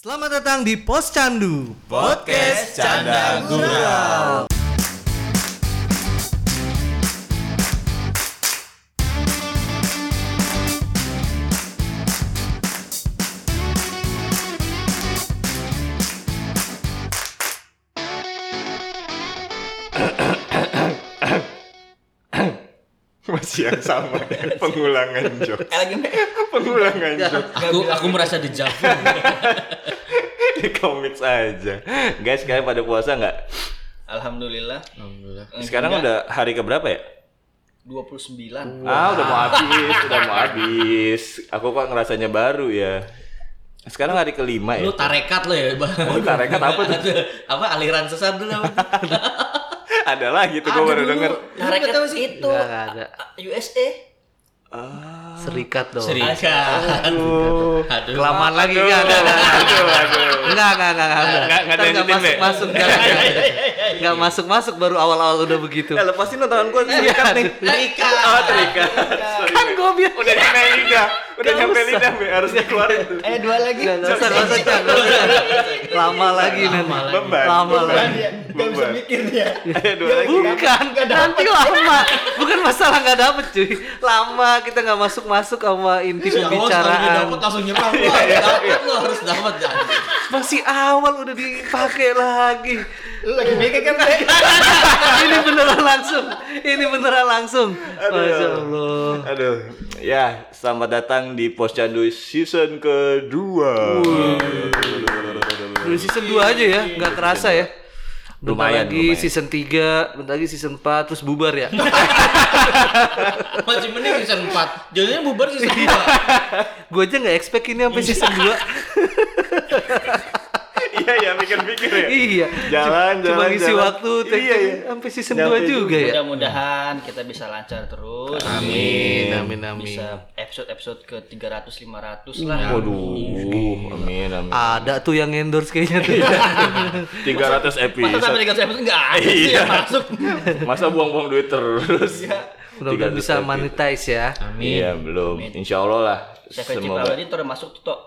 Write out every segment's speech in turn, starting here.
Selamat datang di Pos Candu. Podcast Canda Gurau. masih yang sama pengulangan joke pengulangan joke aku aku merasa dejavu di komik saja guys kalian pada puasa nggak Alhamdulillah. alhamdulillah sekarang udah hari keberapa ya 29. ah udah mau habis udah mau habis aku kok ngerasanya baru ya sekarang hari kelima ya lu tarekat lo ya bang Oh, tarekat apa tuh? apa aliran sesat dulu apa ada lagi tuh gue baru denger Lu Tarekat nggak tahu sih? itu Nggak, nggak ada. A- USA. Ah, Serikat dong. serikat aduh aduh Kelamaan lagi Aduh, enggak ada. aduh, aduh. Enggak, enggak, enggak, enggak. Nggak- nggak ada yang masuk, nyebutin, Be? masuk, enggak masuk, masuk baru awal-awal udah begitu. Ya lepasin nonton gue terikat nih. Terikat. Oh terikat. Sorry, Iya. Kan Be. gue bilang Udah nyampe lidah. Udah nyampe lidah, Be. harus dikeluarin tuh. Eh dua lagi. Nggak, nggak usah, nggak usah, Chan, nggak usah. Lama lagi nanti. Beban. Lama beban, lagi. Gak bisa Beban. mikir dia. Ada dua lagi. Bukan, nanti lama. Bukan masalah nggak dapet cuy. Lama kita nggak masuk-masuk sama inti Iya, dapat pembicaraan. langsung nyerang Iya, Wah, dapet lo harus dapat Jan. Masih awal udah dipakai lagi. Lu lagi mikir kan? Be? ini beneran langsung ini beneran langsung masya allah Aduh. Ya, selamat datang di Posyandu season kedua. Udah season 2 aja ya nggak kerasa ya Bentar Iya, Lumayan, lagi lumayan. season 3, bentar lagi season 4, terus bubar ya. masih mending season 4 jadinya bubar season 2 Gue aja nggak expect ini sampai season 2. Iya ya, mikir-mikir ya. iya. Cuma- Jalan, Cuma jalan, ngisi jalan. waktu take Iya, iya. sampai season Nyampe 2 juga ya. Iya. Mudah-mudahan kita bisa lancar terus. Amin, amin, amin. Bisa episode-episode ke 300 500 lah. Waduh, amin amin. Ada tuh yang endorse kayaknya tuh. Iya. 300 Masa episode. sampai 300 episode enggak ada sih Iya. yang masuk. Masa buang-buang duit terus. Mudah-mudahan Iya. 300 bisa episode. monetize ya. Iya, belum. Insya Allah lah. Savage Semoga Paladin tuh udah masuk tuh, Tok.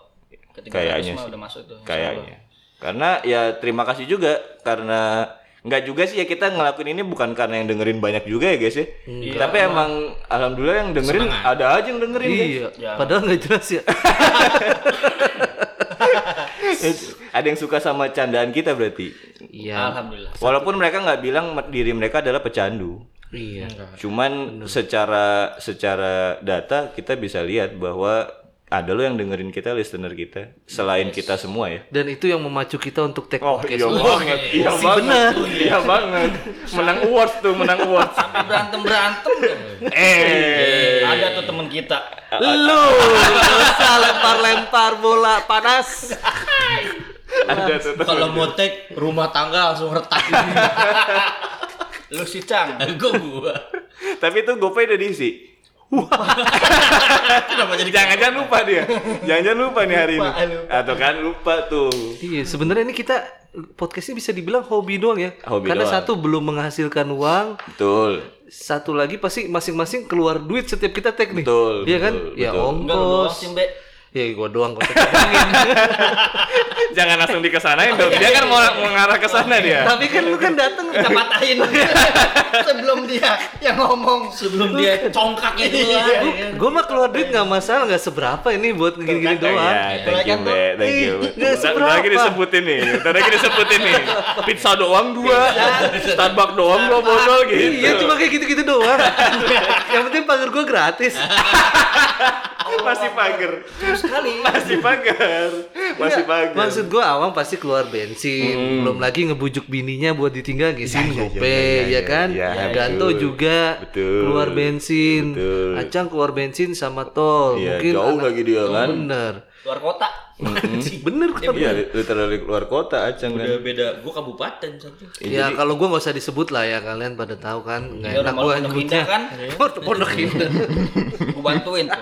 Ke 300 Kayaknya mah sih. udah masuk tuh. insya kayaknya karena ya terima kasih juga karena nggak juga sih ya kita ngelakuin ini bukan karena yang dengerin banyak juga ya guys ya tapi emang alhamdulillah yang dengerin ada aja yang dengerin guys. Iya, Ya. padahal nggak jelas ya. ada yang suka sama candaan kita berarti Iya. Allah. Alhamdulillah. walaupun mereka nggak bilang mer- diri mereka adalah pecandu Iya. cuman secara secara data kita bisa lihat bahwa ada lo yang dengerin kita listener kita selain kita semua ya Dan itu yang memacu kita untuk take Oh podcast. iya banget, iya Sih, banget, bener. iya banget. Menang awards tuh, menang awards. berantem berantem Iya. eh, ada tuh temen kita Lu dosa lempar-lempar bola panas. ada tuh. tuh. kalau mau take rumah tangga langsung retak lu si cang gue gua Tapi itu GoPay udah diisi. kenapa jadi Jangan-jangan lupa dia, jangan-jangan lupa nih hari ini. Lupa, lupa. Atau kan lupa tuh. Iya, sebenarnya ini kita podcastnya bisa dibilang hobi doang ya. Hobi Karena doang. satu belum menghasilkan uang, Betul. satu lagi pasti masing-masing keluar duit setiap kita take nih. Betul, Iya kan? betul, ya betul. enggak lu doang ongkos. sih mbak Ya gua doang gua take doang. Jangan langsung dikesanain dong. Dia kan mau mengarah ke sana dia. Tapi kan lu kan dateng Iya, kita patahin sebelum dia yang ngomong Iya. sebelum dia congkak itu gitu Iya, kan. Gua- kan. Gua mah keluar duit nggak masalah, nggak seberapa ini buat gini-gini doang. Iya, thank you, Mbak. Thank you. Ih, nggak Bentar- bentar seberapa. lagi disebutin nih. Bentar lagi disebutin nih. Pizza doang dua, Starbucks doang dua botol gitu. Iya, cuma kayak gitu-gitu doang. yang penting pagar gua gratis. masih pagar sekali masih pagar masih Enggak, Hmm. pagar Iya, Maksud gua awang pasti keluar bensin, belum lagi ngebujuk bininya buat ditinggal ngisiin Ya, ya, gope, ya, ya, ya, ya kan? ya, ya, Ganto betul. juga Betul. keluar bensin, Betul. Acang keluar bensin sama tol, Iya, mungkin jauh anak- lagi dia, kan? Bener, luar kota bener kata iya literally keluar kota aceng udah kan beda gua kabupaten satu Ya kalau gua nggak usah disebut lah ya kalian pada tahu kan nggak Ya, enak rumah gua lu pondok nyebutnya indah kan? Pondok pondok indah. gue bantuin tuh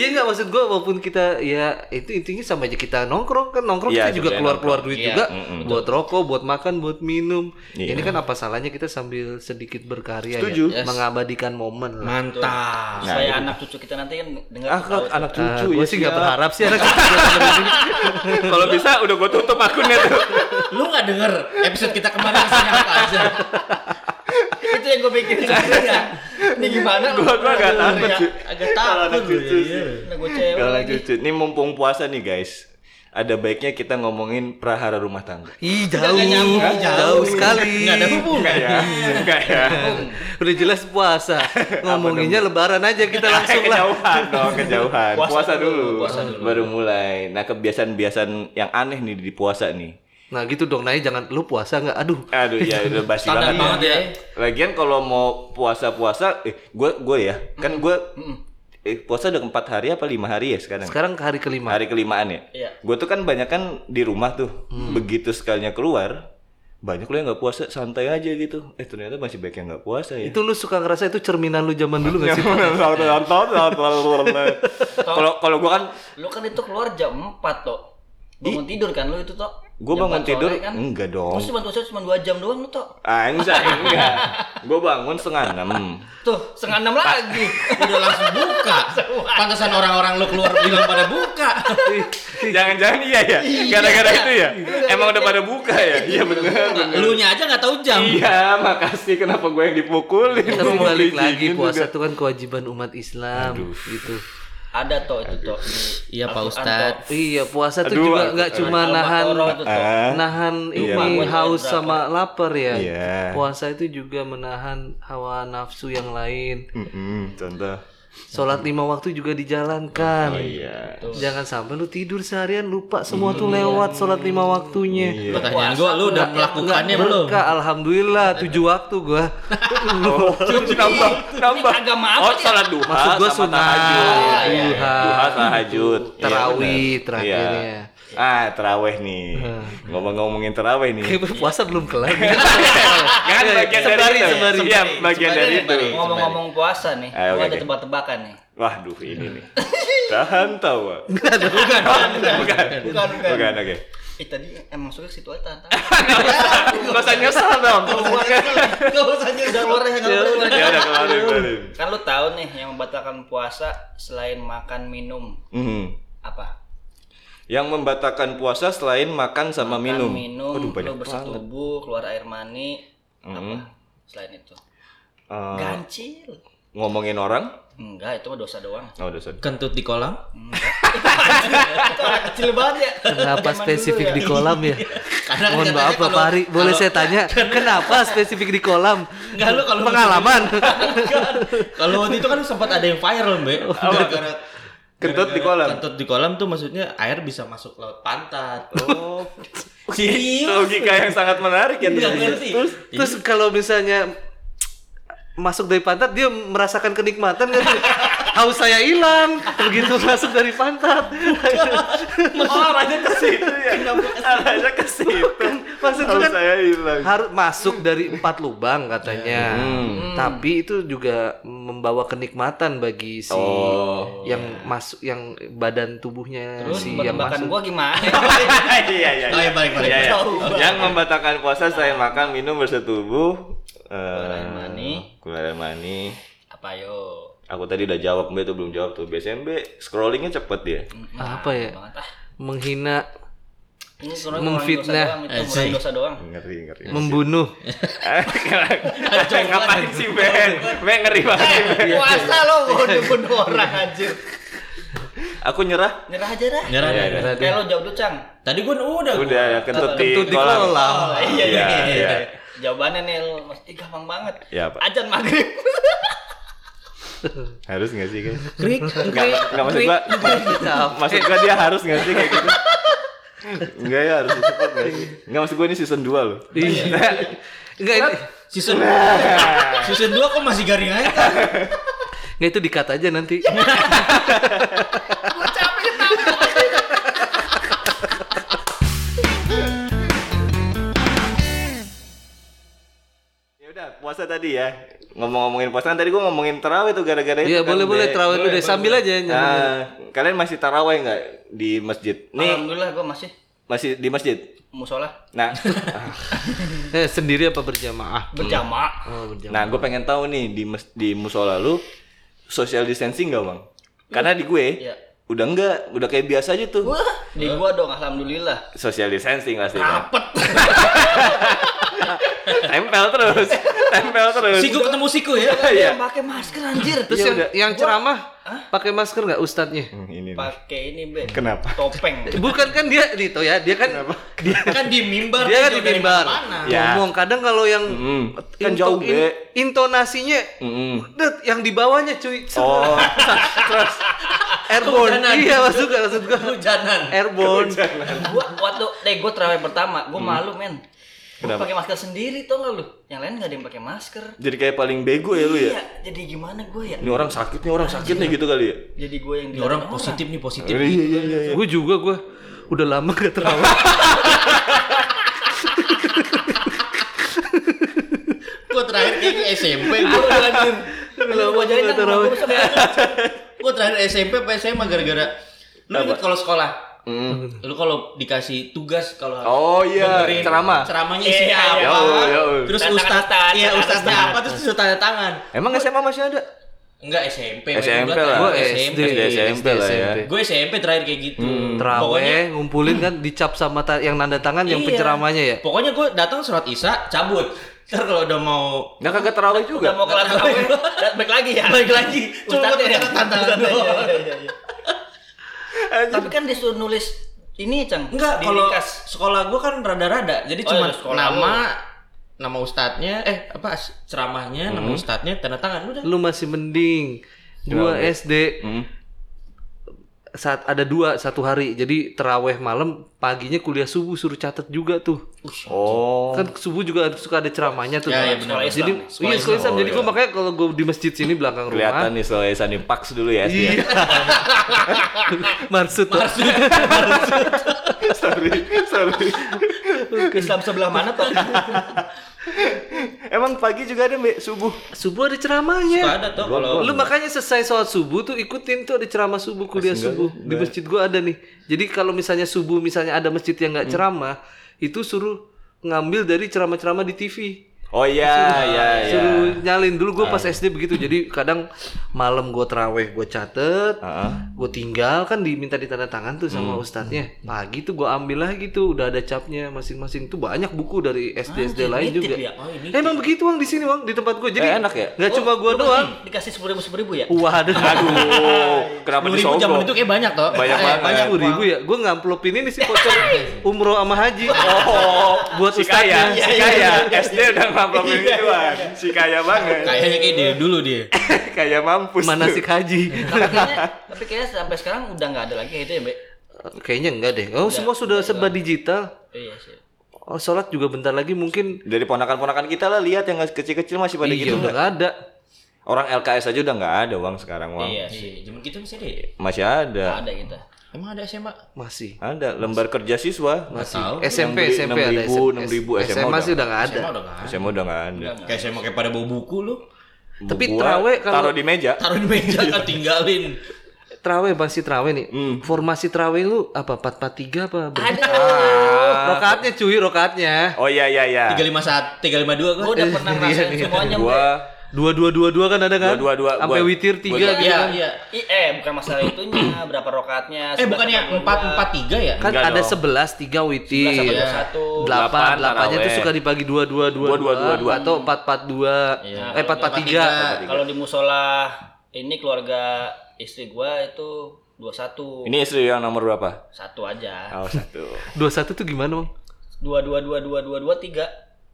Iya nggak maksud gua walaupun kita ya itu intinya sama aja kita nongkrong kan nongkrong Iya, kita juga sebenarnya keluar keluar duit Iya, juga buat rokok, buat makan, buat minum. Ini kan apa salahnya kita sambil sedikit berkarya Setuju. ya, mengabadikan momen. lah. mantap supaya anak cucu kita nanti kan dengar anak anak Ah, cucu gua ya sih nggak berharap sih anak Kalau bisa udah gue tutup akunnya tuh. Iya, Lu nggak denger episode kita kemarin isinya apa aja? itu yang gue pikirin sebenarnya. Ini gimana? Gua- gua agak takut Ya, sih. Agak Kalau anak takut gue. cucu ya. sih. Nah, gue cewek Kalau lagi. cucu, ini mumpung puasa nih guys. Ada baiknya kita ngomongin prahara rumah tangga. Ih Udah jauh, nggak nyambung, jauh, jauh. sekali. Nggak ada hubungan ya. Enggak ya. Udah jelas puasa. Ngomonginnya lebaran aja kita langsung lah. kejauhan dong, kejauhan. Puasa, Puasa dulu, dulu, puasa dulu. baru mulai. Nah, kebiasaan-kebiasaan yang aneh nih di puasa nih. Nah gitu dong, Nay jangan lu puasa nggak? Aduh, Aduh ya udah basi Standar banget. ya. banget ya. Lagian kalau mau puasa-puasa, eh gue gue ya, kan gue eh, puasa udah empat hari apa lima hari ya sekarang? sekarang ke hari kelima. Hari kelimaan ya. Iya. Gue tuh kan banyak kan di rumah tuh, begitu sekalinya keluar, banyak lo yang nggak puasa santai aja gitu. Eh ternyata masih banyak yang nggak puasa ya. Itu lu suka ngerasa itu cerminan lu zaman dulu nggak sih? Kalau kalau gue kan Lu kan itu keluar jam 4 toh. Bangun tidur kan lu itu toh. Gua Jam bangun 4 sore tidur, kan. enggak dong. Terus cuma puasa cuma 2 jam doang lu toh. Anjay, enggak. Gue bangun setengah enam. Tuh, setengah enam lagi. Udah langsung buka. Pantesan orang-orang lu keluar bilang pada buka. Jangan-jangan iya ya, gara-gara itu ya. Emang udah pada buka ya? Iya bener, bener. Lu nya aja nggak tahu jam. Iya, makasih. Kenapa gue yang dipukulin? Tapi Gua mau balik lagi digigit juga. puasa itu kan kewajiban umat Islam gitu. Ada toh itu toh. Di- Iya Pak Al-Quran, Ustadz. toh. Iya puasa tuh Aduh, juga aku- nggak cuma Al-Baqarah nahan itu toh. Ah, nahan Iya, ini Bang. haus sama lapar ya. Iya. Puasa itu juga menahan hawa nafsu yang lain. Mm-mm, contoh. Sholat lima waktu juga dijalankan. Iya. Jangan sampai lu tidur seharian lupa semua tuh Iya. lewat sholat lima waktunya. Iya. Pertanyaan gua lu udah melakukannya belum? Berkah, alhamdulillah tujuh waktu gua. nambah, nambah. agama apa Oh, salat duha. Maksud gua sama sunnah, tahajud. iya, iya. Duha, tahajud. Iya, Terawih benar. terakhirnya. Iya. Ah, terawih nih. Ngomong-ngomongin terawih nih. Kayak puasa belum kelar. Kan Iya, bagian dari Sembari, itu. sembari. Iya, bagian dari itu. Ngomong-ngomong puasa nih, Ayo, gua Eh, oke, ada oke. tebak-tebakan nih. Waduh, ini nih. Tahan tawa. Nggak ada. Bukan. Bukan, bukan. Bukan, oke. Eh tadi emang suka situ aja tahan. Nggak usah nyesel dong. Enggak usah nyesel keluar ya, nggak perlu. Ya udah, kemarin, kemarin. Kan lu tahu nih yang membatalkan puasa selain makan minum Mhm. apa? Yang membatalkan puasa selain makan sama Makan, minum. minum, Aduh banyak lu banget. bersetubuh, keluar air mani, apa? Mm. Selain itu. Eh, Gancil. ngomongin orang? Enggak, itu mah dosa doang. Oh, udah sorry. Kentut di kolam. Itu anak kecil banget ya. Kenapa Zaman dulu spesifik ya. di kolam ya? Karena Mohon katanya maaf Pak kalau- Fahri, boleh kalau- saya tanya kenapa spesifik di kolam? Enggak, lu kalau- pengalaman. Kalau waktu itu kan sempat ada yang viral, Mbak. Gara-gara Kentut gara-gara di kolam? Kentut di kolam tuh maksudnya air bisa masuk laut pantat. Oh, Serius? logika yang sangat menarik ya. Enggak teman-teman. ngerti. Terus kalau misalnya masuk dari pantat dia merasakan kenikmatan kan? Haus saya hilang begitu masuk dari pantat. Oh, arahnya ke situ ya. Arahnya ke situ. Maksud Tahu lu kan saya hilang. harus masuk dari empat lubang katanya. Hmm. Tapi itu juga membawa kenikmatan bagi si Oh. yang masuk yang badan tubuhnya Terus si yang masuk. makan gua gimana? Iya, iya. Oh, ya, balik, balik. Iya, iya. Yang membatalkan puasa selain makan, minum, bersetubuh, keluar air mani. keluar air mani. apa yo? Aku tadi udah jawab, Mbak itu belum jawab tuh. Biasanya Mbak scrollingnya cepet dia. Apa ya? Banget ah. Menghina, Ini sebenarnya Memfitnah. ngurangin dosa doang, itu ngurangin dosa doang. Ngeri, ngeri. membunuh. Eh, Ngapain sih Ben? Ben ngeri banget. Puasa lo bunuh-bunuh orang anjir. Aku nyerah. Nyerah aja dah. Nyerah Iya, deh. iya. Eh lo jawab dulu, Cang. Tadi gua "Oh, udah. gua. Udah ya, kentut di Kentut di kolam. kolam. Oh, iya iya. Iya, iya. iya. Jawabannya nih lo, Mas. Ih, gampang banget. Iya, Pak. Ajan maghrib. Harus nggak sih guys? Krik. Nggak, nggak maksud gua. Maksud gua dia harus nggak sih kayak gitu? Enggak ya harus cepat nggak sih? Enggak maksud gua ini season 2 loh. Enggak ini Season Season 2 kok masih garing aja kan? Nggak itu dikat aja nanti. Ya udah puasa tadi ya. Ngomong-ngomongin puasa kan tadi gua ngomongin terawih tuh gara-gara itu. Iya kan, boleh boleh Ah. Be. terawih dulu deh sambil aja. nyambil. Nah, kalian masih tarawih nggak di masjid? Nih Alhamdulillah gua masih masih di masjid. musola Nah, Eh, sendiri apa berjamaah? berjamaah. Oh, berjamaah. nah gue pengen tahu nih di mes, di musola lu social distancing gak bang? Karena di gue Iya. udah enggak udah kayak biasa aja tuh Wah, di gua dong alhamdulillah. social distancing pasti Apet. tempel terus tempel terus Siku ketemu siku ya. Iya. Yang pakai masker anjir. Terus Terus yang, yang ceramah pakai masker nggak ustadznya? Hmm, ini nih. pakai ini, Ben. Kenapa? Topeng. Bukan kan dia itu ya, dia kan dia, Kan di mimbar. dia kan tuh di dari mimbar mana-mana. Ya. ngomong. Kadang kalau yang Hmm. Mm, kan jauh, in- Be. intonasinya Mm-mm. det, yang di bawahnya cuy. oh Terus airborne. Kehujanan. Iya maksud gua, maksud gua. Hujanan. Eh. Airborne. gua waktu deh gua terawih pertama, gua malu, men. Gua Kenapa? pakai masker sendiri tau gak lu? Yang lain gak ada yang pakai masker. jadi kayak paling bego ya lu ya Iya, jadi gimana gua ya? ini orang sakit nih orang sakit nih gitu kali ya Jadi gua yang Ini orang positif nih positif. iya iya iya Gue juga gue udah lama gak terawih. Gua terakhir kayaknya SMP gua. Gua anjir. Gua jadi Gua kan terawih. gua besok ya. Gua terakhir SMP apa SMA gara-gara lu inget kalau sekolah. Hmm. Lu kalau dikasih tugas kalau oh iya dengerin ceramah ceramahnya isinya Iya, iya, apa? iya, iya. Terus Tantangan ustaz, ustaz, iya tantangan ustaznya ustaz. apa terus disuruh tanda tangan. emang SMA masih ada Enggak SMP, SMP gua lah Gua terakhir SD. SMP lah ya Gue SMP terakhir kayak gitu. Pokoknya Hmm. Terawih ngumpulin kan dicap sama ta- yang nanda tangan yang Iya. penceramahnya ya. Pokoknya gue datang surat isya cabut. Ntar kalau udah mau Nah kagak terawih Udah juga. mau kelar terawih, dan balik lagi ya. balik lagi, cuma Ustaznya gue ya. tantangan Ustaznya, doang. iya, iya, iya. Tapi kan disuruh nulis ini, Cang. Enggak, Di kalau ringkas. sekolah gue kan rada-rada, jadi Oh, cuma iya, sekolah nama nama ustadznya, eh apa as- ceramahnya, nama ustadznya, tanda tangan udah. Lu masih mending. Gua SD Hmm. saat ada dua satu hari. Jadi terawih malam, paginya kuliah subuh suruh catat juga tuh. Oh. Kan subuh juga suka ada ceramahnya tuh. Ya, ya, Sekolah benar. Islam. Jadi ya? iya sekolah Islam. Islam. Jadi gua makanya kalau gua di masjid sini belakang Kelihatan rumah. nih soalnya Sani Pax dulu ya. Iya. Marsud. Marsud. sorry, sorry. Islam sebelah mana toh? Emang pagi juga ada Mbak subuh. Subuh ada Suka ceramahnya. ada tuh kalau Lu makanya selesai sholat subuh tuh ikutin tuh ada ceramah subuh kuliah Oh, Masih enggak, subuh di enggak. masjid gua ada nih. Jadi kalau misalnya subuh misalnya ada masjid yang nggak ceramah, itu suruh ngambil dari ceramah-ceramah di TV. Oh iya, iya, iya. Nah, Ah. Suruh nyalin dulu gua pas SD begitu. Jadi kadang malam gua teraweh gua catet, Ah. Hmm. gua tinggal kan diminta ditanda tangan tuh sama ustadznya. Pagi tuh gua ambil lagi tuh udah ada capnya masing-masing tuh banyak buku dari SD SD lain nitip juga. Eh, ya? Oh, ini Oh, Emang begitu Wang di sini Wang di tempat gua. Jadi Eh, enak ya? Gak cuma gua doang. Dikasih sepuluh ribu sepuluh ribu ya? Wah, aduh. Aduh, sepuluh kenapa ribu zaman disogok? itu kayak banyak toh. Banyak Eh, banget. Banyak puluh ribu ya, gue ngamplopin ini sih voucher umroh sama haji Oh, buat si kaya, si ustadznya. kaya. SD udah ngapain gituan. Si kaya banget. Kayaknya kayak dia dulu dia. kaya mampus. Mana tuh. sih haji? Tapi kayaknya, Iya, tapi kayaknya sampai sekarang udah nggak ada lagi itu ya, Mbak? Kayaknya enggak deh. Oh, semua sudah serba digital. Iya sih. Oh, sholat juga bentar lagi mungkin Dari ponakan-ponakan kita lah lihat yang kecil-kecil masih pada iya gitu udah nggak? nggak ada. Orang LKS aja udah nggak ada uang sekarang uang. Iya sih, zaman kita masih ada. ya? Masih Nggak ada. ada kita. Emang ada SMA? Masih. Ada lembar kerja siswa. Masih. tahu. SMP, SMP ada. 6.000, 6.000, SMA sih SMA udah. udah nggak ada. SMA udah nggak ada. SMA udah nggak ada. Kayak SMA kayak pada bawa buku lu. Tapi Gua terawih kalau taruh di meja. Taruh di meja kan tinggalin. terawih masih terawih nih. Hmm. Formasi terawih lu apa 443 apa? berapa? Rokaatnya cuy, rokaatnya. Ah. Oh iya iya iya. 351, 352 gua. Iya. Gua udah pernah ngerasain semuanya, Mbak. Gua Dua dua dua dua kan ada kan? Dua, dua, dua. Sampai Gua- witir gua- tiga gitu Iya, kan? iya. I, eh, bukan masalah itunya, berapa rokatnya. Eh bukannya 443 ya? Kan Enggak ada dong. 11 3 witir. 11 sama Iya. 21. 8 Delapan, 8 nya tuh taraweh. suka dibagi 2 2 2 2, 2 atau 4 4 2. Iya. Eh 4 4 3. 443. Kalau di musola ini keluarga istri gua itu 21. ini istri yang nomor berapa? satu aja. Oh satu. 21 tuh gimana, Bang? 2 2 2 2 2 2 3.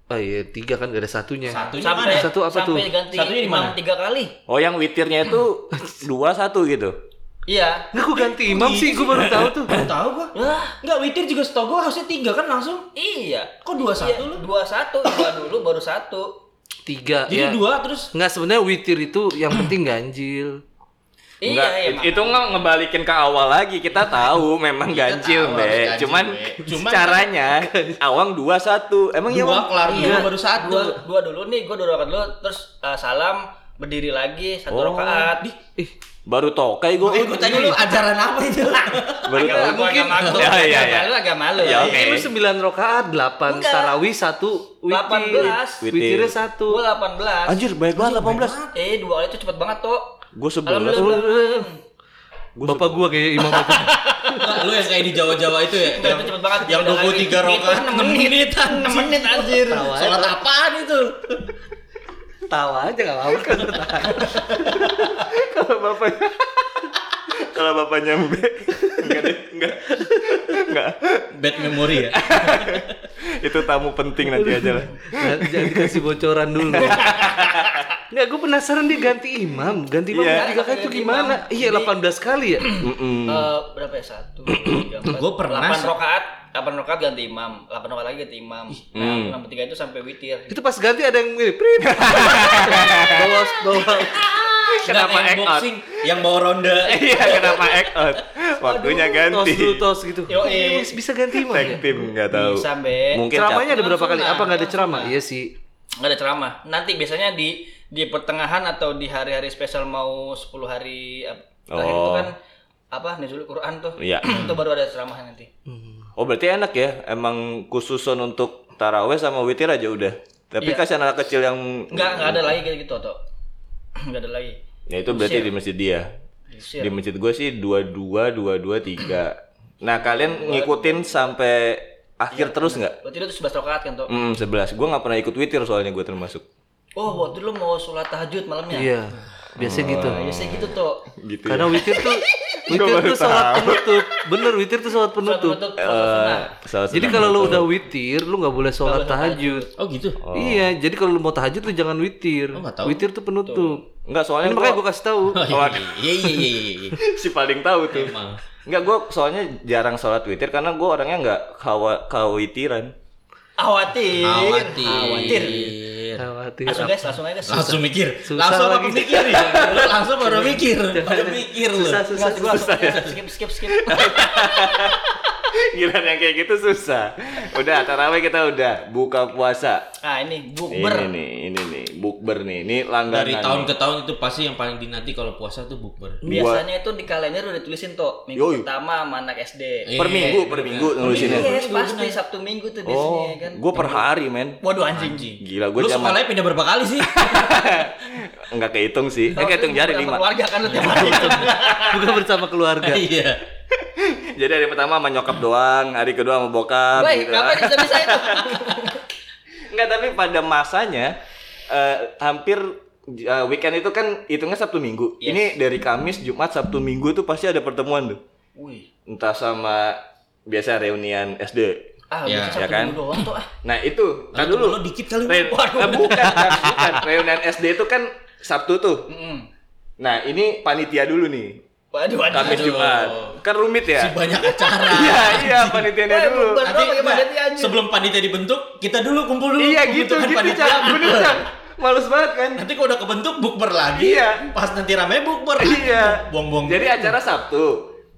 Oh iya, 3 kan gak ada satunya. Satunya Sampai mana? Satu apa sampai tuh? ganti Satunya di imam mana? tiga kali. Oh yang witirnya itu dua satu gitu. Iya. Nggak, gua ganti imam sih, gua baru tahu tuh. Baru tahu gua. Lah, Enggak, witir juga setau gua harusnya 3 kan langsung. iya. Kok 21 lu? 21 dua dulu baru satu. 3 Jadi ya. 2 terus Enggak sebenarnya witir itu yang penting ganjil. Nggak, Iya, it- emang. itu nggak ngebalikin ke awal lagi. Kita tahu memang ganjil, tahu Be. harus ganjil, Cuman, Be. Cuman- caranya awang dua satu. Emang ya, dua Bang? kelar dua Iya. baru satu. Dua, dua dulu nih, gua dua rakaat dulu terus eh, salam berdiri lagi satu Oh. rakaat. Ih, baru tokai gue. Eh, gua tanya lu ajaran apa itu? baru Agak tokai. mungkin malu, Ya, ya, ya. agak malu, agak malu. Ya, oke. itu 9 rakaat, 8 Enggak. tarawih, 1 witir. 18. Witirnya Gua 1. 18. Anjir, banyak banget 18. Eh, dua kali itu cepet banget, Tok. Gue sebelas. Alhamdulillah. Bapak gua kayak imam aku. Enggak, lu yang kayak di Jawa-Jawa itu ya. itu cepet banget. Yang Beda lagi. 23 rokaat 6 menit. 6 menit anjir. ya, Tawa aja. Salat apaan itu? Tawa aja nggak apa-apa kan tahan. kalau bapaknya kalau bapaknya mbe enggak deh enggak enggak Bad memory ya. itu tamu penting nanti aja lah Jangan- Jangan dikasih bocoran dulu. Nggak, gue penasaran dia ganti imam. Ganti imam Iya. tiga kali itu gimana? Iya, 18 kali ya? Mm-mm. Eh, berapa ya? Satu, tiga, empat. Gua pernah Delapan sa- rokaat, delapan rokaat ganti imam, delapan rokaat lagi ganti imam. Nah, Hmm. enam tiga itu sampai witir. Itu pas ganti ada yang gini, prit. bawa, bawa. Kenapa Nggak, yang act out? boxing yang bawa ronde. iya kenapa act out waktunya Tos dulu, ganti tos gitu. Yo, Ini eh. bis- bisa ganti imam tag ya? team nggak tahu Bisa, Be. mungkin Ceramahnya cap- ada berapa Langsung kali? lah, Apa nggak ada langsung ceramah? Iya sih. Nggak ada ceramah. Nanti biasanya di di pertengahan atau di hari-hari spesial mau 10 hari ap- terakhir itu Oh. kan apa nuzul Quran tuh. Iya. itu baru ada ceramah nanti. oh berarti enak ya emang khususan untuk taraweh sama witir aja udah tapi kasih anak kecil yang Enggak, enggak ada lagi kayak gitu, Toto. Enggak ada lagi. ya itu berarti di masjid dia Diusir. Di masjid gue sih dua dua dua dua tiga. Nah kalian ngikutin sampai akhir terus nggak? Berarti itu 11 rakaat kan, Tok? Hmm sebelas. Gue nggak pernah ikut witir soalnya gue termasuk. Oh, waktu lu mau sholat tahajud malamnya. Iya. Biasanya gitu. Biasanya gitu, Tok. Gitu. Karena witir tuh witir baru tuh sholat penutup. Bener, witir tuh sholat Sholat penutup. penutup, eh, sholat sunnah. Jadi kalau lu udah witir, lu nggak boleh sholat tahajud. Oh, Oh gitu. Iya, jadi kalau lu mau tahajud lu jangan witir. nggak tahu. Witir tuh penutup. nggak soalnya Ini gua- makanya gue kasih tahu. Iya iya iya iya, iya. si paling tahu tuh. Emang. Nggak gue soalnya jarang sholat witir karena gue orangnya nggak kawa kawitiran. Awatir. iya. Khawatir. Awatir. Khawatir. Langsung guys, langsung aja guys. Langsung mikir. Susah langsung apa lagi. mikir ya? Lu langsung baru mikir. Baru mikir lu. Susah, susah, Nggak, gua susah. langsung- skip skip skip. Giliran yang kayak gitu susah. Udah taraweh kita udah buka puasa. Ah, Ini ini bukber. nih, ini nih, bukber nih, ini langganan. Dari tahun nih. ke tahun itu pasti yang paling dinanti kalau puasa tuh bukber. Biasanya itu di kalender udah ditulisin tuh minggu Yoi. pertama sama anak SD. per minggu, per minggu Iya. nulisinnya. Yes, Iya, pasti Sabtu Minggu tuh biasanya Oh, kan. gue per hari men. Waduh anjing. Gila gue Lu zaman sekolahnya pindah berapa kali sih? nggak kehitung sih. Eh kehitung jari Berapa lima. Keluarga kan lu tiap hari. Bukan bersama keluarga. Iya. Jadi hari pertama sama nyokap doang, hari kedua sama bokap. Baik, gitu. kenapa bisa bisa itu? Nggak tapi pada masanya eh, hampir eh, weekend itu kan hitungnya Sabtu Minggu. Yes. Ini dari Kamis, Jumat, Sabtu Minggu itu pasti ada pertemuan tuh. Wih. Entah sama biasa reunian SD. Ah, Ya, bisa ya Sabtu kan? Minggu doang tuh ah. Nah itu, Nah, kan dulu. lu dikit kali. Re- eh, bukan, kan, bukan. Reunian SD itu kan Sabtu tuh. Mm-mm. Nah ini panitia dulu nih. Waduh, waduh. Kamis Aduh. Jumat. Kan rumit ya. Si banyak acara. Iya, iya panitianya Wah, dulu. bukber doang Nanti, pakai Mbak, badan dia, anjing. sebelum panitia dibentuk, kita dulu kumpul dulu. Iya gitu, pembentukan gitu kan panitia, Cak. Bener bukber. Cak. Males banget kan? Nanti kalau udah kebentuk bukber lagi. Iya. Pas nanti rame bukber. Iya. Buang-buang. Jadi acara Sabtu.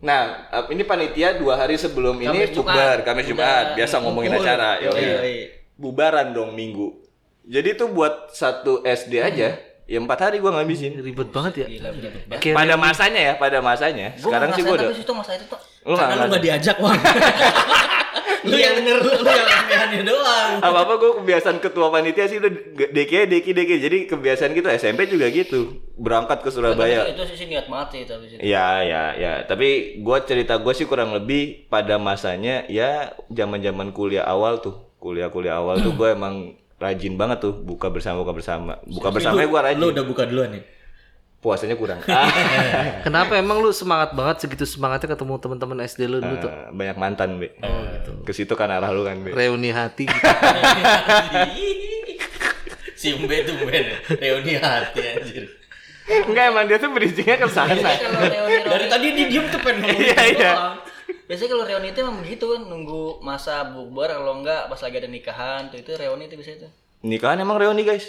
Nah, ap- ini panitia dua hari sebelum ini Kamis, Jumat. Iya. bukber, Kamis Jumat, Udah, biasa ngomongin kumpul. acara. yoi. Yoi. Bubaran dong minggu. Jadi tuh buat satu SD Hmm. aja, ya empat hari gua ngabisin. Ribet banget ya. Gila, gila. Kayak Pada masanya ya, pada masanya. Gua Sekarang sih ngerasain gua udah. Tapi situ masa itu tuh. Lu nggak Karena lu ngerti. gak diajak, Wang. lu yang Iya. bener, lu yang aneh-aneh doang. apa apa gue kebiasaan ketua panitia sih udah ge- deki deki deki jadi kebiasaan gitu SMP juga gitu berangkat ke Surabaya Itu sih niat mati tapi situ. Ya, ya, ya. Tapi gua cerita gue sih kurang lebih pada masanya ya zaman-zaman kuliah awal tuh. Kuliah-kuliah awal tuh gue emang rajin banget tuh buka bersama buka bersama. Buka bersama gue rajin. Lu udah Iya. buka duluan ya? Puasanya kurang. Ah, Kenapa emang lu semangat banget segitu semangatnya ketemu teman-teman SD lu Nah. dulu tuh? banyak mantan, Be. Oh, gitu. Ke situ kan arah lu kan, Be. Reuni hati gitu. si Mbe tuh Mbe nih, reuni hati anjir. Enggak, emang dia tuh bridging-nya ke Iya. Biasanya sana. kalau reuni Dari tadi dia diem tuh pengen ngomong Iya, gitu iya. doang. Biasanya kalau reuni itu emang begitu kan nunggu masa bukber kalau enggak pas lagi ada nikahan tuh itu reuni itu biasanya tuh. Nikahan emang reuni, guys.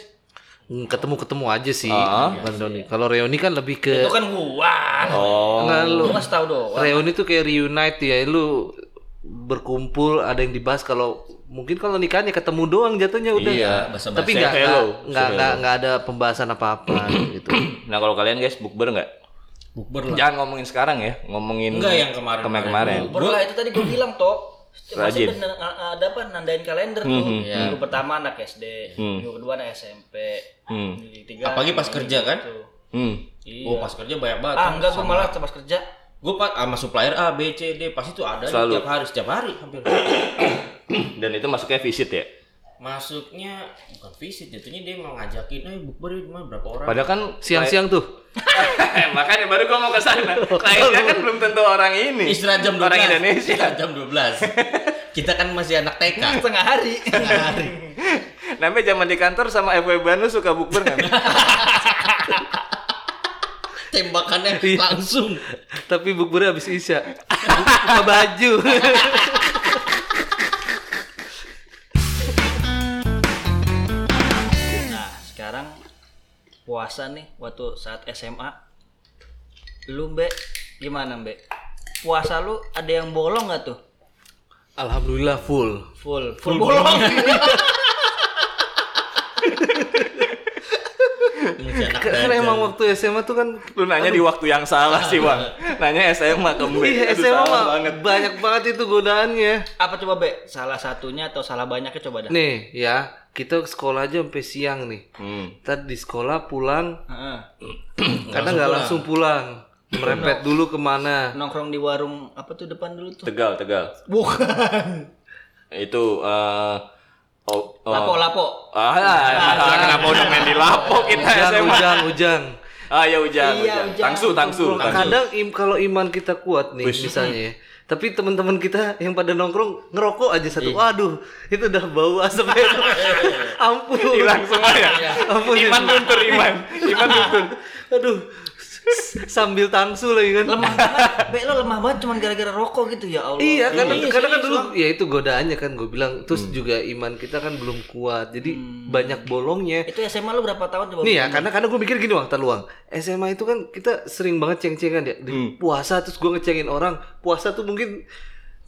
Hmm, Ketemu-ketemu aja sih. Ah. bukan reuni. Kalau reuni kan lebih ke Itu kan gua. Oh. Nggak, lu. Lu ngasih tahu doang. Reuni tuh kayak reunite ya, lu berkumpul ada yang dibahas kalau mungkin kalau nikahnya ketemu doang jatuhnya udah. Iya, basa-basi. Tapi nggak Say hello, nggak- nggak say nggak nggak ada pembahasan apa-apa gitu. Nah, kalau kalian guys bukber nggak? Bukber lah. Jangan ngomongin sekarang ya, ngomongin Enggak, yang kemarin. Kemarin-kemarin. Bukber lah itu tadi gua bilang toh. Rajin. Masih ada, ada apa nandain kalender tuh. Iya. Minggu pertama anak SD, minggu kedua anak SMP, minggu ketiga. Apalagi pas kerja kan? gitu. Hmm. Iya. Oh, pas kerja banyak banget. Ah, enggak gua malah pas kerja Gue pas sama supplier A, B, C, D pasti tuh ada Selalu. setiap hari, setiap hari hampir. Dan itu masuknya visit ya. Masuknya bukan visit, jatuhnya dia mau ngajakin, eh bukber yuk, cuma berapa orang? Padahal kan Siang-siang tuh. Eh, makanya baru gua mau ke sana. Kliennya kan belum tentu orang ini. Istirahat jam 12. Orang Indonesia. Istirahat jam 12. Kita kan masih anak TK. Setengah hari. Setengah hari. Namanya zaman di kantor sama FW Bandung suka bukber kan? nggak? Tembakannya langsung. Tapi bukbernya habis Isya. Buka baju. Nah, sekarang puasa nih waktu saat SMA. Lu, Mbak, gimana, Mbak? Puasa lu ada yang bolong nggak tuh? Alhamdulillah full. Full, full, bolong. Masih anak Karena dajal. emang waktu SMA tuh kan Lu nanya di waktu yang salah sih, Bang. Nanya SMA ke Mbak. Iya, Aduh, SMA salah mah banget. banyak banget itu godaannya. Apa coba, Mbak? Salah satunya atau salah banyaknya coba dah. Nih ya, kita sekolah aja sampai siang nih. Hmm. Ntar di sekolah pulang, Heeh. karena nggak langsung pulang. Merempet dulu kemana. Nongkrong di warung apa tuh depan dulu tuh? Tegal, Tegal. Bukan. Itu eh oh, oh. Lapo-lapo. Ah, kenapa udah main di lapo kita Hujan, SMA? hujan, hujan. Nah, Ah, ya hujan, Iya, hujan. hujan. Tangsu, tangsu, tangsu. Kadang im kalau iman kita kuat nih misalnya ya. Tapi teman-teman kita yang pada nongkrong ngerokok aja satu. Waduh, itu udah bau asapnya. Ampun. Hilang semua ya. Ampun. Iman luntur, Iman. Iman luntur. Aduh. s- Sambil tangsu lagi kan. lemah banget, Be, lo lemah banget cuman gara-gara rokok gitu ya Allah. Iya karena karena kan dulu ya itu godaannya kan gue bilang terus Hmm. juga iman kita kan belum kuat jadi banyak bolongnya Itu SMA lu berapa Iya. tahun coba? nih ya karena karena gue mikir gini waktu luang SMA itu kan kita sering banget ceng-cengan ya Di Hmm. puasa terus gue ngecengin orang puasa tuh mungkin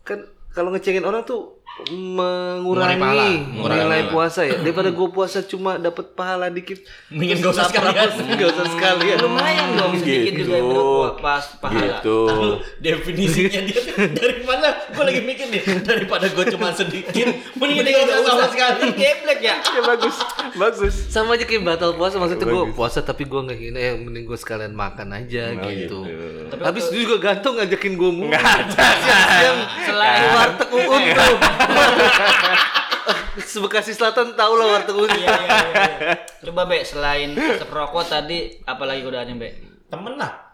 kan kalau ngecengin orang tuh mengurangi Mengurangi pahala. Mengurangi nilai pahala. puasa ya daripada gue puasa cuma dapat pahala dikit Mendingan gak usah sekalian. gak usah sekalian lumayan dong sedikit juga Gitu. menurut gua pas pahala. Gitu. Lu definisinya dia dari mana? Gue lagi mikir nih daripada gue cuma sedikit, mendingan dia nggak usah sama sekali. Geblek ya. Ya bagus, bagus. sama aja kayak batal puasa maksudnya gue puasa tapi gue nggak hina ya mending gue sekalian makan aja gitu. Tapi Habis itu juga gantung ngajakin gue mulu. Yang selain warteg uun tuh. Bekasi Selatan tau lah warteg Untu. Iya, iya, iya, iya. Coba Be, selain rokok tadi apalagi godaannya Be? Temen lah.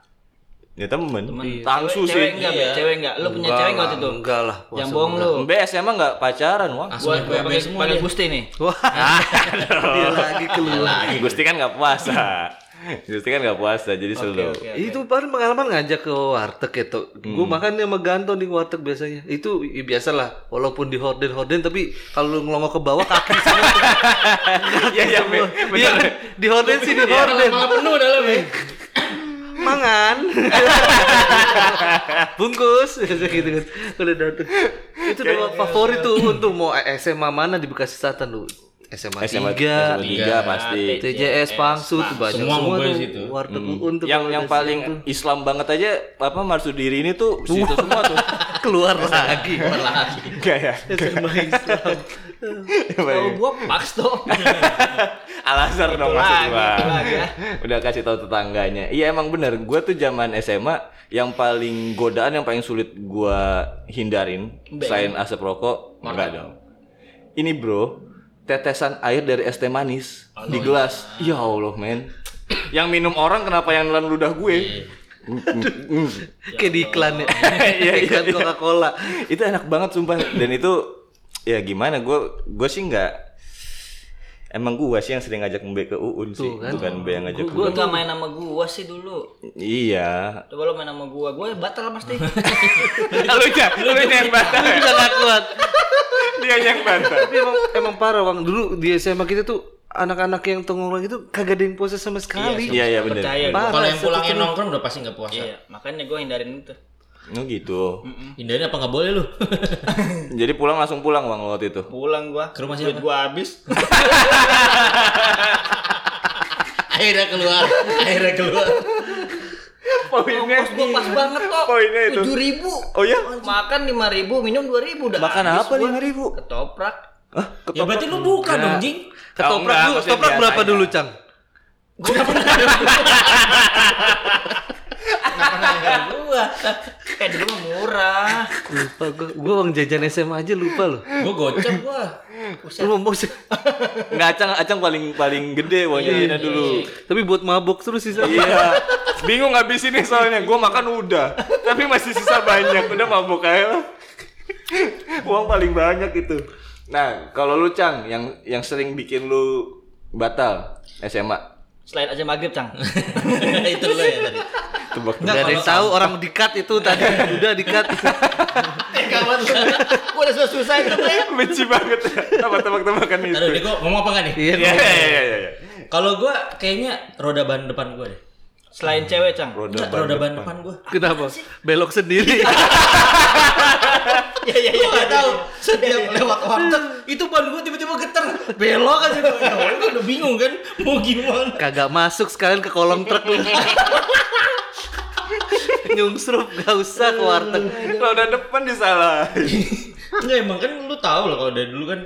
Ya temen. Temen. Iya. Tangsu Cewek- sih. Cewek enggak, Be? Cewek enggak. Lu punya cewek enggak waktu itu? Enggak lah. puasa Yang bohong lu. Mbak SMA nggak pacaran, wah. Langsung Buat FWB pakai semua pakai dia. Gusti nih. gua. Wah. Dia lagi keluar. Gusti kan nggak puasa. Gusti kan nggak puasa, jadi selalu. oke. Itu paling pengalaman ngajak ke warteg itu. Hmm. Gue makan sama Ganto di warteg biasanya. Itu ya, biasalah, walaupun di horden-horden tapi kalau lu ngelongok ke bawah kaki semua. Iya, iya, Be. Iya, bener. Iya, di horden sih di horden. Malah penuh dalam ya. mangan bungkus gitu gitu udah dateng itu Iya, nama favorit tuh untuk mau SMA mana di Bekasi Selatan lu SMA, SMA 3 tiga pasti. TJS Pangsu tuh banyak semua, Semua ngumpul tuh di situ. warteg Uun tuh Yang kalau yang udah paling siang tuh. Islam banget aja apa Marsudiri ini tuh situ semua tuh. keluar lagi Gak ya. SMA Islam Tahu gua paks tuh. Alasar Gitu dong maksud lagi, gua. itu lagi ya. Udah kasih tahu tetangganya. Iya emang bener. Gua tuh zaman SMA yang paling godaan yang paling sulit gua hindarin selain asap rokok enggak dong. Ini bro, tetesan air dari es teh manis iya. di gelas. Ya Allah, men. Yang minum orang kenapa yang nelan ludah gue? kayak di iklan ya Iya. iklan Coca Cola Iya, itu enak banget sumpah dan itu ya gimana gue gue sih nggak emang gue sih yang sering ngajak Mbe ke Uun sih bukan Mbe yang ngajak kan. Gua enggak main sama gua sih dulu. Iya. Coba lo main sama gua, gua batal pasti. lu aja, lu aja yang bantah. Lu bisa nggak kuat Dia yang bantah. tapi emang emang parah bang dulu di SMA kita tuh anak-anak yang tongkrong itu kagak ada yang puasa sama sekali Iya, iya bener. Percaya gua. Parah, Kalau yang satu pulangnya terus. nongkrong udah pasti nggak puasa. Iya, makanya gua hindarin itu. Oh gitu. Hindarin apa nggak boleh lu? Jadi pulang langsung pulang bang lo waktu itu. Pulang gua. Ke rumah Duit siapa? gua habis. akhirnya keluar, akhirnya keluar. Oh, iya, Ongkos gua pas banget kok. Poinnya itu. 7.000. Oh iya? Makan 5.000, minum 2.000 udah. Makan habis apa gua. 5.000? Ketoprak. Hah? Ya berarti lu bukan dong, Jing. Oh, ketoprak enggak, dulu maksudnya ketoprak berapa biasanya. dulu cang Nggak pernah nyari gua. Eh dulu mah murah. lupa gue gue uang jajan SMA aja lupa loh Gua gocap gua. lu mau bos Nggak acang acang paling paling gede uang jajannya dulu. tapi buat mabok terus sih Sam. Iya. Bingung habisinnya soalnya. Gue makan udah, tapi masih sisa banyak. Udah mabuk aja lah. Uang paling banyak itu. Nah, kalau lu Cang yang yang sering bikin lu batal SMA. Selain aja maghrib cang. Itu lo ya tadi. Tebak Nggak ada yang tahu orang dikat itu tadi udah dikat Eh kawan. Gua udah susah itu ya. benci banget ya. Sama tebak-tebakan itu. Aduh, ini gua ngomong apa nggak nih? iya Iya, iya, iya, iya, iya. Kalau gua kayaknya roda ban depan gua deh. Selain cewek cang. Roda Nggak, ban roda ban depan. depan gua. kenapa belok sendiri Ya ya ya. Gak tahu. Setiap lewat warteg itu ban gua tiba-tiba geter. Belok aja gua. Ya, gua udah bingung kan mau gimana. kagak masuk sekalian ke kolong truk lu nyungsrup gak usah ke warteg Roda depan disalahin. Enggak emang kan lu tahu lah kalau dari dulu kan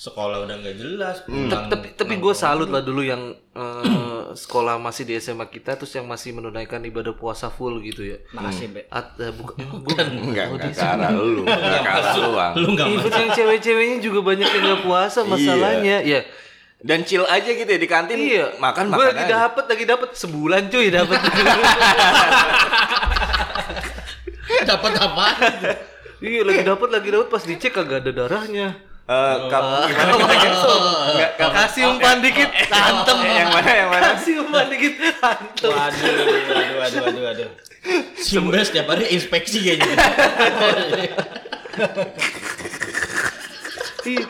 sekolah udah nggak jelas. Hmm. pulang- tapi tapi gue salut lah dulu yang eh, sekolah masih di SMA kita terus yang masih menunaikan ibadah puasa full gitu ya Makasih be. At, eh, bukan, gua- Enggak, enggak ke arah lu. Oh, Enggak ke arah lu, Bang. Lu nggak mau. Even yang cewek-ceweknya juga banyak yang gak puasa masalahnya. Ya. Dan chill aja gitu ya di kantin. Iya, Makan Gue makan lagi aja. dapet, lagi dapet sebulan cuy dapet. Dapat apa? iya, lagi dapet, lagi dapet pas dicek kagak ada darahnya. Eh, kap, gimana kita cancel? Enggak, kap- Kasih umpan dikit, tantem. Eh, yang mana yang mana? Kasih umpan dikit, tantem. Waduh, waduh, waduh, waduh, waduh. Simbas tiap hari inspeksi kayaknya. Ih,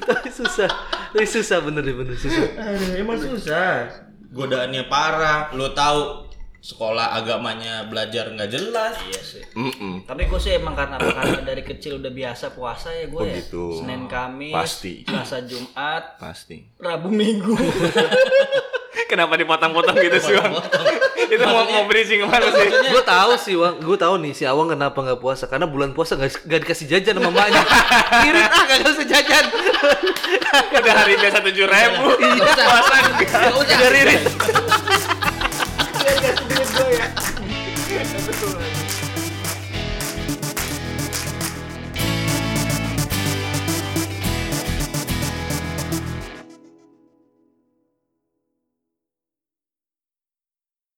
Tapi susah, tapi susah bener deh, bener susah. Aduh, emang susah. Godaannya parah. Lu tahu sekolah agamanya belajar nggak jelas. Iya sih. Mm-mm. Tapi gue sih emang karena karena dari kecil udah biasa puasa ya gue Oh, ya. gitu. Senin Kamis, Pasti. Selasa Jumat, Pasti. Rabu Minggu. Kenapa dipotong-potong gitu sih, Bang? Itu mau mau bridging kemana sih? Gue tahu sih, Wang. Gue tahu nih si Awang kenapa nggak puasa karena bulan puasa nggak nggak dikasih jajan sama emaknya. Irit ah kagak usah jajan. Iya. Ada hari biasa tujuh ribu. Puasa enggak? Udah irit.